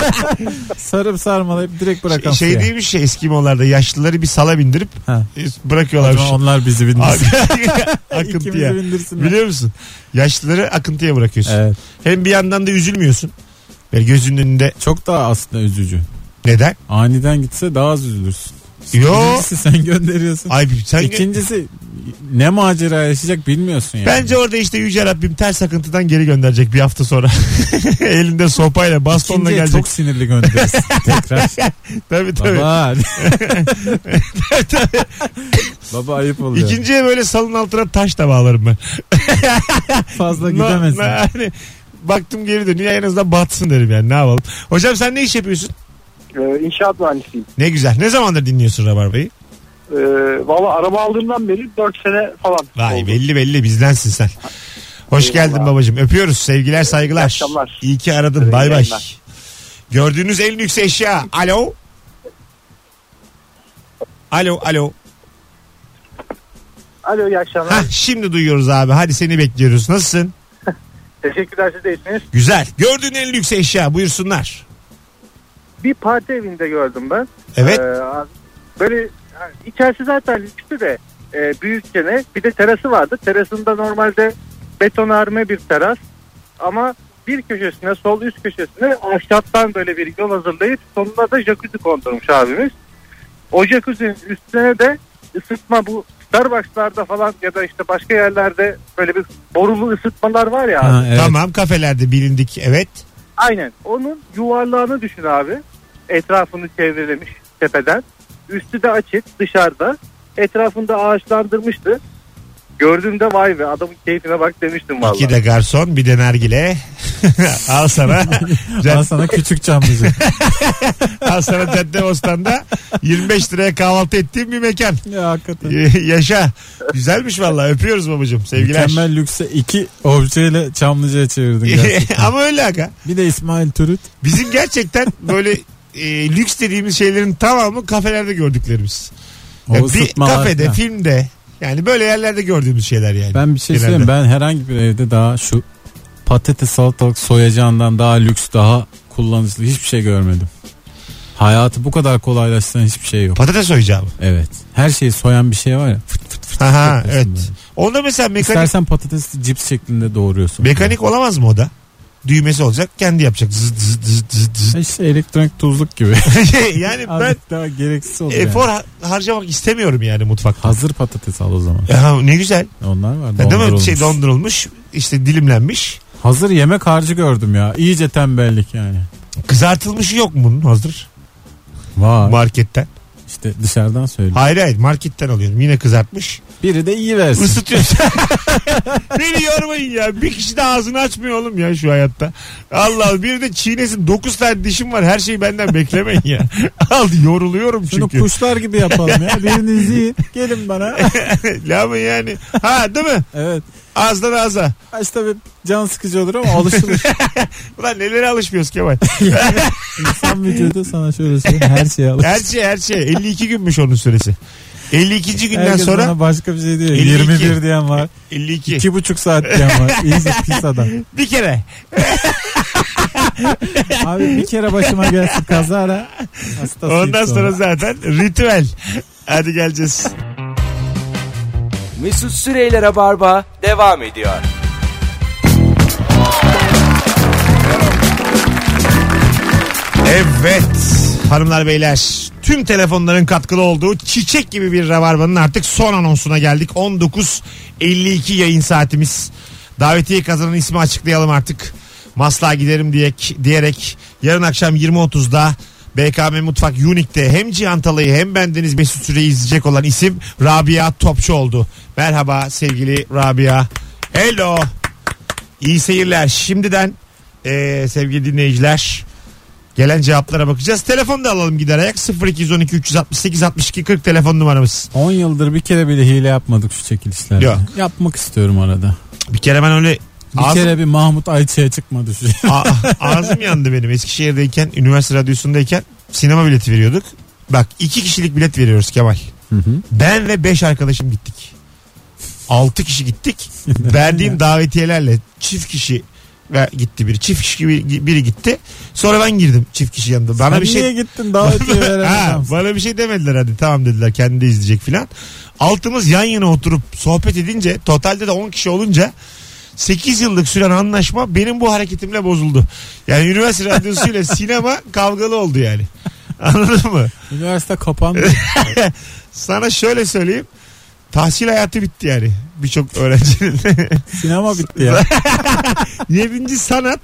Speaker 3: <laughs> Sarıp sarmalayıp direkt bırakalım
Speaker 2: şey
Speaker 3: suya.
Speaker 2: değilmiş ya Eskimolarda yaşlıları bir sala bindirip
Speaker 3: Ha.
Speaker 2: e,
Speaker 3: O
Speaker 2: bırakıyorlarmış.
Speaker 3: zaman onlar bizi bindirsin.
Speaker 2: <laughs> akıntıya.
Speaker 3: İkimizi bindirsinler.
Speaker 2: Biliyor musun? Yaşlıları akıntıya bırakıyorsun.
Speaker 3: Evet.
Speaker 2: Hem bir yandan da üzülmüyorsun. Böyle gözünün önünde
Speaker 3: Çok daha aslında üzücü.
Speaker 2: neden?
Speaker 3: Aniden gitse daha az üzülürsün.
Speaker 2: Yo.
Speaker 3: Birincisi sen <laughs> gönderiyorsun.
Speaker 2: Ay sen
Speaker 3: İkincisi ne macera yaşayacak bilmiyorsun yani.
Speaker 2: Bence orada işte Yüce Rabbim ters akıntıdan geri gönderecek bir hafta sonra. <laughs> Elinde sopayla bastonla
Speaker 3: İkinciye
Speaker 2: gelecek.
Speaker 3: çok
Speaker 2: <laughs>
Speaker 3: sinirli gönderirsin. Tekrar.
Speaker 2: Tabii tabii.
Speaker 3: Baba.
Speaker 2: <laughs>
Speaker 3: Baba ayıp oluyor.
Speaker 2: İkinciye böyle salın altına taş da bağlarım ben.
Speaker 3: Fazla
Speaker 2: Na-
Speaker 3: gidemezsin.
Speaker 2: na- hani baktım geri dönüyor en azından batsın derim yani ne yapalım. Hocam sen ne iş yapıyorsun?
Speaker 7: Ee, inşaat mühendisiyim.
Speaker 2: Ne güzel. Ne zamandır dinliyorsun Rabarba'yı?
Speaker 7: Ee, Valla araba aldığımdan beri 4 sene falan
Speaker 2: Vay
Speaker 7: oldu.
Speaker 2: belli belli bizdensin sen. Hoş
Speaker 7: Eyvallah.
Speaker 2: geldin babacığım. Öpüyoruz. Sevgiler, saygılar.
Speaker 7: akşamlar.
Speaker 2: İyi ki aradın.
Speaker 7: İyi
Speaker 2: Bay bay.
Speaker 7: yayınlar.
Speaker 2: Gördüğünüz en lüks eşya. Alo. Alo, alo.
Speaker 7: Alo iyi akşamlar.
Speaker 2: Hah, şimdi duyuyoruz abi. Hadi seni bekliyoruz. Nasılsın?
Speaker 7: Teşekkürler siz de iyisiniz.
Speaker 2: Güzel. Gördüğün en lüks eşya. Buyursunlar.
Speaker 7: Bir parti evinde gördüm ben.
Speaker 2: Evet.
Speaker 7: Ee, böyle
Speaker 4: yani içerisi zaten lükstü de e, büyükçene bir de terası vardı. Terasında normalde betonarme bir teras ama bir köşesine sol üst köşesine ahşaptan böyle bir yol hazırlayıp sonuna da jacuzzi kondurmuş abimiz. O jacuzzi'nin üstüne de ısıtma bu Starbucks'larda falan ya da işte başka yerlerde böyle bir borulu ısıtmalar var ya. abi.
Speaker 3: Ha, evet.
Speaker 2: Tamam kafelerde bilindik evet.
Speaker 4: Aynen. Onun yuvarlağını düşün abi. Etrafını çevrelemiş tepeden. Üstü de açık dışarıda. Etrafında ağaçlandırmıştı. Gördüğümde vay be adamın keyfine bak demiştim vallahi.
Speaker 2: İki de garson bir de
Speaker 3: <laughs>
Speaker 2: nargile. al sana.
Speaker 3: Al sana küçük camlıcı.
Speaker 2: <laughs> al sana Cadde Bostan'da 25 liraya kahvaltı ettiğim bir mekan.
Speaker 3: ya hakikaten.
Speaker 2: <laughs> Yaşa. Güzelmiş valla öpüyoruz babacığım. Sevgiler.
Speaker 3: Mükemmel lükse iki objeyle
Speaker 2: <laughs>
Speaker 3: Çamlıca'ya çevirdin gerçekten.
Speaker 2: Ama öyle aga.
Speaker 3: bir de İsmail Türüt.
Speaker 2: Bizim gerçekten böyle e, lüks dediğimiz şeylerin tamamı kafelerde gördüklerimiz.
Speaker 3: O
Speaker 2: Ya bir
Speaker 3: ısıtmalar
Speaker 2: kafede,
Speaker 3: falan.
Speaker 2: filmde yani böyle yerlerde gördüğümüz şeyler yani.
Speaker 3: Ben bir şey
Speaker 2: Genelde.
Speaker 3: söyleyeyim. Ben herhangi bir evde daha şu patates salatalık soyacağından daha lüks daha kullanışlı hiçbir şey görmedim. Hayatı bu kadar kolaylaştıran hiçbir şey yok.
Speaker 2: Patates soyacağım.
Speaker 3: Evet. Her şeyi soyan bir şey var ya. Fıt fıt fıt.
Speaker 2: Aha
Speaker 3: yapıyorsun
Speaker 2: evet.
Speaker 3: böyle.
Speaker 2: Onda mesela mekanik
Speaker 3: İstersen patatesi cips şeklinde doğruyorsun.
Speaker 2: mekanik olamaz mı o da? Düğmesi olacak kendi yapacak. Zıt zıt zıt zıt
Speaker 3: <laughs>
Speaker 2: zıt.
Speaker 3: İşte elektronik tuzluk gibi.
Speaker 2: <laughs> yani <laughs> ben
Speaker 3: <laughs>
Speaker 2: E,
Speaker 3: Azıcık daha gereksiz olur yani.
Speaker 2: efor har- harcamak istemiyorum yani mutfakta.
Speaker 3: Hazır patates al o zaman.
Speaker 2: Ya, ne güzel.
Speaker 3: Onlar var.
Speaker 2: Değil mi?
Speaker 3: dondurulmuş.
Speaker 2: Şey dondurulmuş, işte dilimlenmiş.
Speaker 3: Hazır yemek harcı gördüm ya. İyice tembellik yani.
Speaker 2: Kızartılmışı yok mu bunun hazır
Speaker 3: Var.
Speaker 2: marketten?
Speaker 3: İşte dışarıdan söyle.
Speaker 2: Hayır hayır marketten alıyorum. Yine kızartmış.
Speaker 3: Biri de iyi versin.
Speaker 2: Isıtıyorsun. <laughs> Beni yormayın ya. Bir kişi de ağzını açmıyor oğlum ya şu hayatta. Allah bir de çiğnesin. 9 tane dişim var. Her şeyi benden beklemeyin ya. <laughs> Al yoruluyorum
Speaker 3: Şunu
Speaker 2: <laughs> çünkü.
Speaker 3: kuşlar gibi yapalım ya. Biriniz iyi. Gelin bana. <laughs>
Speaker 2: Lama yani. Ha değil mi?
Speaker 3: evet.
Speaker 2: Ağızdan ağza.
Speaker 3: Başta bir can sıkıcı olur ama alışılır.
Speaker 2: Ulan nelere alışmıyoruz Kemal.
Speaker 3: İnsan vücudu sana şöyle söyleyeyim. Her şeye alışır.
Speaker 2: Her şey her şey. 52 günmüş onun süresi. 52. günden
Speaker 3: Herkes
Speaker 2: sonra
Speaker 3: bana başka bir şey diyor.
Speaker 2: 52.
Speaker 3: 21 diyen var.
Speaker 2: 52.
Speaker 3: iki buçuk saat diyen var. İyice pis adam.
Speaker 2: Bir kere.
Speaker 3: Abi bir kere başıma gelsin kazara. Hastasıyım
Speaker 2: Ondan sonra zaten ritüel. Hadi geleceğiz.
Speaker 1: Mesut Süreyler'e barba devam ediyor.
Speaker 2: Evet hanımlar beyler tüm telefonların katkılı olduğu çiçek gibi bir rabarbanın artık son anonsuna geldik. 19.52 yayın saatimiz. Davetiye kazanan ismi açıklayalım artık. Masla giderim diye, diyerek yarın akşam 20.30'da BKM Mutfak Unique'de hem Cihan Talay'ı hem bendeniz Mesut Süreyi izleyecek olan isim Rabia Topçu oldu. Merhaba sevgili Rabia. Hello. İyi seyirler. Şimdiden eee, sevgili dinleyiciler Gelen cevaplara bakacağız. Telefonu da alalım gider ayak. 0212 368 62 40 telefon numaramız.
Speaker 3: 10 yıldır bir kere bile hile yapmadık şu çekilişlerde.
Speaker 2: Yok.
Speaker 3: Yapmak istiyorum arada.
Speaker 2: Bir kere ben öyle
Speaker 3: Bir
Speaker 2: ağzım,
Speaker 3: kere bir Mahmut Ayça'ya çıkmadı
Speaker 2: <laughs>
Speaker 3: şu.
Speaker 2: a- <laughs> ağzım yandı benim. Eskişehir'deyken, üniversite radyosundayken sinema bileti veriyorduk. Bak iki kişilik bilet veriyoruz Kemal.
Speaker 3: Hı hı.
Speaker 2: Ben ve beş arkadaşım gittik. Altı kişi gittik. <laughs> Verdiğim davetiyelerle çift kişi ve gitti biri. Çift kişi biri, biri gitti. Sonra ben girdim çift kişi yanında. Bana
Speaker 3: Sen
Speaker 2: bir şey
Speaker 3: niye gittin
Speaker 2: <laughs>
Speaker 3: davetiye veren
Speaker 2: ha,
Speaker 3: adamsın?
Speaker 2: bana bir şey demediler hadi tamam dediler kendi de izleyecek filan. Altımız yan yana oturup sohbet edince totalde de 10 kişi olunca 8 yıllık süren anlaşma benim bu hareketimle bozuldu. Yani üniversite radyosuyla sinema kavgalı oldu yani. Anladın mı?
Speaker 3: Üniversite kapandı.
Speaker 2: <laughs> Sana şöyle söyleyeyim. Tahsil hayatı bitti yani birçok öğrencinin. <laughs>
Speaker 3: Sinema bitti ya.
Speaker 2: Yedinci sanat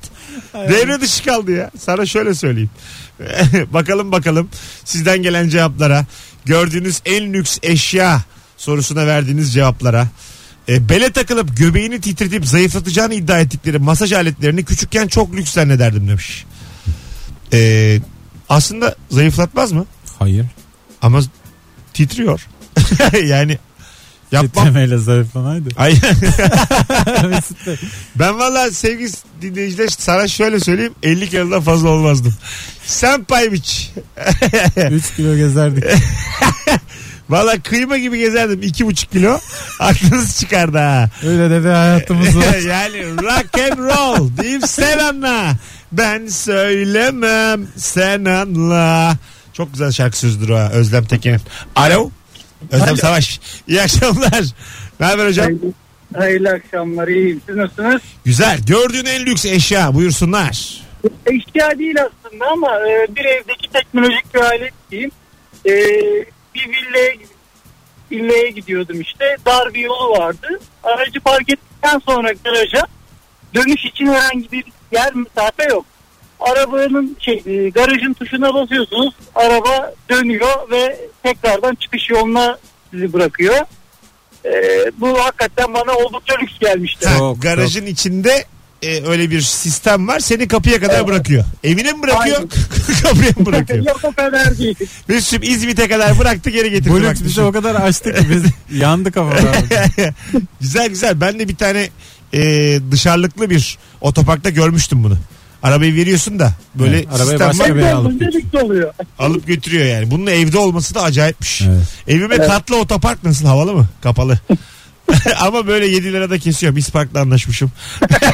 Speaker 2: devre dışı kaldı ya. Sana şöyle söyleyeyim. <laughs> bakalım bakalım sizden gelen cevaplara. Gördüğünüz en lüks eşya sorusuna verdiğiniz cevaplara. E, bele takılıp göbeğini titretip zayıflatacağını iddia ettikleri masaj aletlerini küçükken çok lüks zannederdim demiş. E, aslında zayıflatmaz mı?
Speaker 3: Hayır.
Speaker 2: Ama titriyor. <laughs> yani yapmam. <laughs>
Speaker 3: Titremeyle zayıflanaydı.
Speaker 2: Ay,
Speaker 3: Mesut Bey,
Speaker 2: Ben valla sevgili dinleyiciler sana şöyle söyleyeyim 50 kilodan fazla olmazdım. Sen pay <laughs> biç.
Speaker 3: 3 kilo gezerdik.
Speaker 2: Valla kıyma gibi gezerdim 2,5 kilo. <laughs> Aklınız çıkardı ha.
Speaker 3: Öyle de bir
Speaker 2: <laughs>
Speaker 3: hayatımız var.
Speaker 2: yani rock and roll deyip sen anla. Ben söylemem sen anla. Çok güzel şarkı sözdür o ha Özlem Tekin'in. Alo. Özlem Savaş. İyi akşamlar. Ne haber hocam?
Speaker 5: Hayırlı akşamlar iyiyim. Siz nasılsınız?
Speaker 2: Güzel. Gördüğün en lüks eşya buyursunlar.
Speaker 5: Eşya değil aslında ama e, bir evdeki teknolojik bir alet diyeyim. E, bir villaya, villaya gidiyordum işte. Dar bir yolu vardı. Aracı park ettikten sonra garaja dönüş için herhangi bir yer mesafe yok. Arabanın şey, e, garajın tuşuna basıyorsunuz. Araba dönüyor ve tekrardan çıkış yoluna sizi bırakıyor. E, bu hakikaten bana oldukça lüks gelmişti.
Speaker 2: Ha,
Speaker 3: Çok,
Speaker 2: garajın içinde e, öyle bir sistem var. Seni kapıya kadar bırakıyor. Evine mi bırakıyor? <laughs> kapıya mı
Speaker 3: <laughs>
Speaker 2: bırakıyor?
Speaker 5: Yok o kadar değil.
Speaker 2: Mesut'cum İzmit'e kadar bıraktı geri getirdi. bak
Speaker 3: Bulut bizi
Speaker 2: düşün. <laughs>
Speaker 3: o kadar açtı ki biz yandık kafada.
Speaker 2: güzel güzel. Ben de bir tane e, dışarılıklı bir otoparkta görmüştüm bunu. Arabayı veriyorsun da böyle
Speaker 3: Evet, arabaya
Speaker 2: sistem
Speaker 3: başka
Speaker 2: var.
Speaker 3: bir- Tabii alıp
Speaker 5: Öncelikli oluyor.
Speaker 2: alıp götürüyor yani. Bunun evde olması da acayipmiş.
Speaker 3: Evet.
Speaker 2: Evime katlı otopark nasıl havalı mı? Kapalı. Ama böyle 7 lirada kesiyorum. Biz parkla anlaşmışım. <laughs>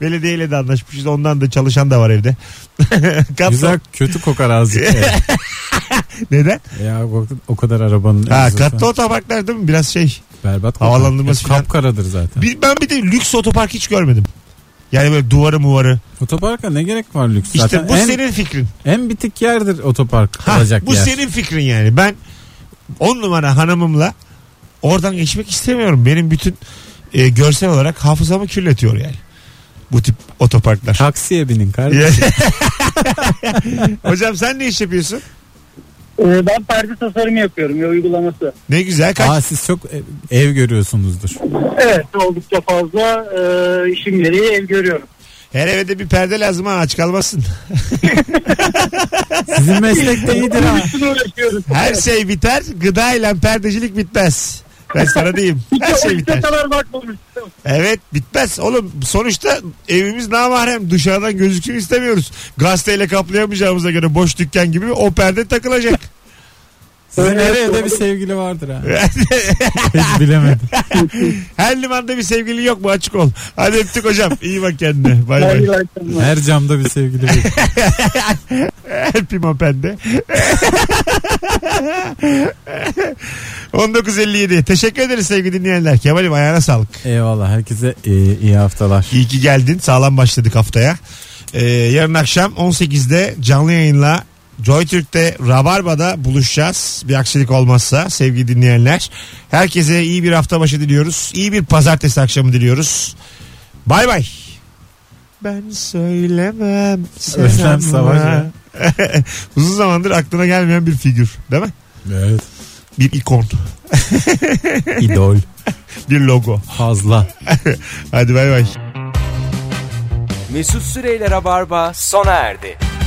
Speaker 2: Belediyeyle de anlaşmışız. Ondan da çalışan da var evde. <laughs> katlı.
Speaker 3: Güzel kötü kokar azıcık.
Speaker 2: <laughs>
Speaker 3: Evet.
Speaker 2: Neden?
Speaker 3: ya o, o kadar arabanın.
Speaker 2: Ha,
Speaker 3: egzozu
Speaker 2: katlı
Speaker 3: falan.
Speaker 2: otoparklar değil mi? Biraz şey.
Speaker 3: Berbat kokar.
Speaker 2: Havalandırması
Speaker 3: Hep Kapkaradır zaten.
Speaker 2: Bir, ben bir de lüks otopark hiç görmedim. Yani böyle duvarı muvarı.
Speaker 3: Otoparka ne gerek var lüks
Speaker 2: İşte
Speaker 3: zaten.
Speaker 2: bu
Speaker 3: en,
Speaker 2: senin fikrin.
Speaker 3: en bitik yerdir otopark
Speaker 2: Ha,
Speaker 3: kalacak
Speaker 2: bu
Speaker 3: yer.
Speaker 2: senin fikrin yani. Ben on numara hanımımla oradan geçmek istemiyorum. Benim bütün e, görsel olarak hafızamı kirletiyor yani. Bu tip otoparklar.
Speaker 3: Taksiye binin kardeşim.
Speaker 2: <laughs> Hocam sen ne iş yapıyorsun?
Speaker 5: Ee, ben perde tasarımı yapıyorum ya uygulaması.
Speaker 2: Ne güzel kaç.
Speaker 3: Aa, siz çok ev, ev görüyorsunuzdur.
Speaker 5: Evet oldukça fazla e, işim gereği ev görüyorum.
Speaker 2: Her eve de bir perde lazım ha aç kalmasın.
Speaker 3: Sizin meslekte iyidir ha.
Speaker 5: Şunu uğraşıyoruz.
Speaker 2: Her şey biter gıdayla perdecilik bitmez. Ben sana diyeyim. Her
Speaker 5: Hiç
Speaker 2: şey
Speaker 5: o işe
Speaker 2: biter.
Speaker 5: kadar bakmamıştım.
Speaker 2: Evet bitmez. Oğlum sonuçta evimiz namahrem. Dışarıdan gözüksün istemiyoruz. Gazeteyle kaplayamayacağımıza göre boş dükkan gibi o perde takılacak.
Speaker 3: Sizin
Speaker 5: Öyle
Speaker 3: her
Speaker 5: evet,
Speaker 3: evde
Speaker 5: doğru.
Speaker 3: bir sevgili vardır ha. <laughs> Hiç bilemedim.
Speaker 2: Her limanda bir sevgili yok mu açık ol. Hadi öptük hocam. İyi bak kendine. Bay bay.
Speaker 5: Hayırlı akşamlar.
Speaker 3: Her camda bir sevgili <laughs> var.
Speaker 2: Öpeyim hapende. <laughs> 1957. Teşekkür ederiz sevgili dinleyenler. Kemal'im ayağına sağlık.
Speaker 3: Eyvallah herkese e, iyi, iyi haftalar.
Speaker 2: İyi ki geldin. Sağlam başladık haftaya. Ee, yarın akşam 18'de canlı yayınla Joy Türk'te Rabarba'da buluşacağız. Bir aksilik olmazsa sevgili dinleyenler. Herkese iyi bir hafta başı diliyoruz. İyi bir pazartesi akşamı diliyoruz. Bay bay. Ben söylemem. sen
Speaker 3: Özlem
Speaker 2: anla.
Speaker 3: Savaş ya.
Speaker 2: <laughs> Uzun zamandır aklına gelmeyen bir figür değil mi?
Speaker 3: Evet.
Speaker 2: Bir ikon,
Speaker 3: İdol.
Speaker 2: bir logo. <laughs>
Speaker 3: Fazla.
Speaker 2: Hadi bay bay.
Speaker 1: Mesut Süreyler'e barba sona erdi.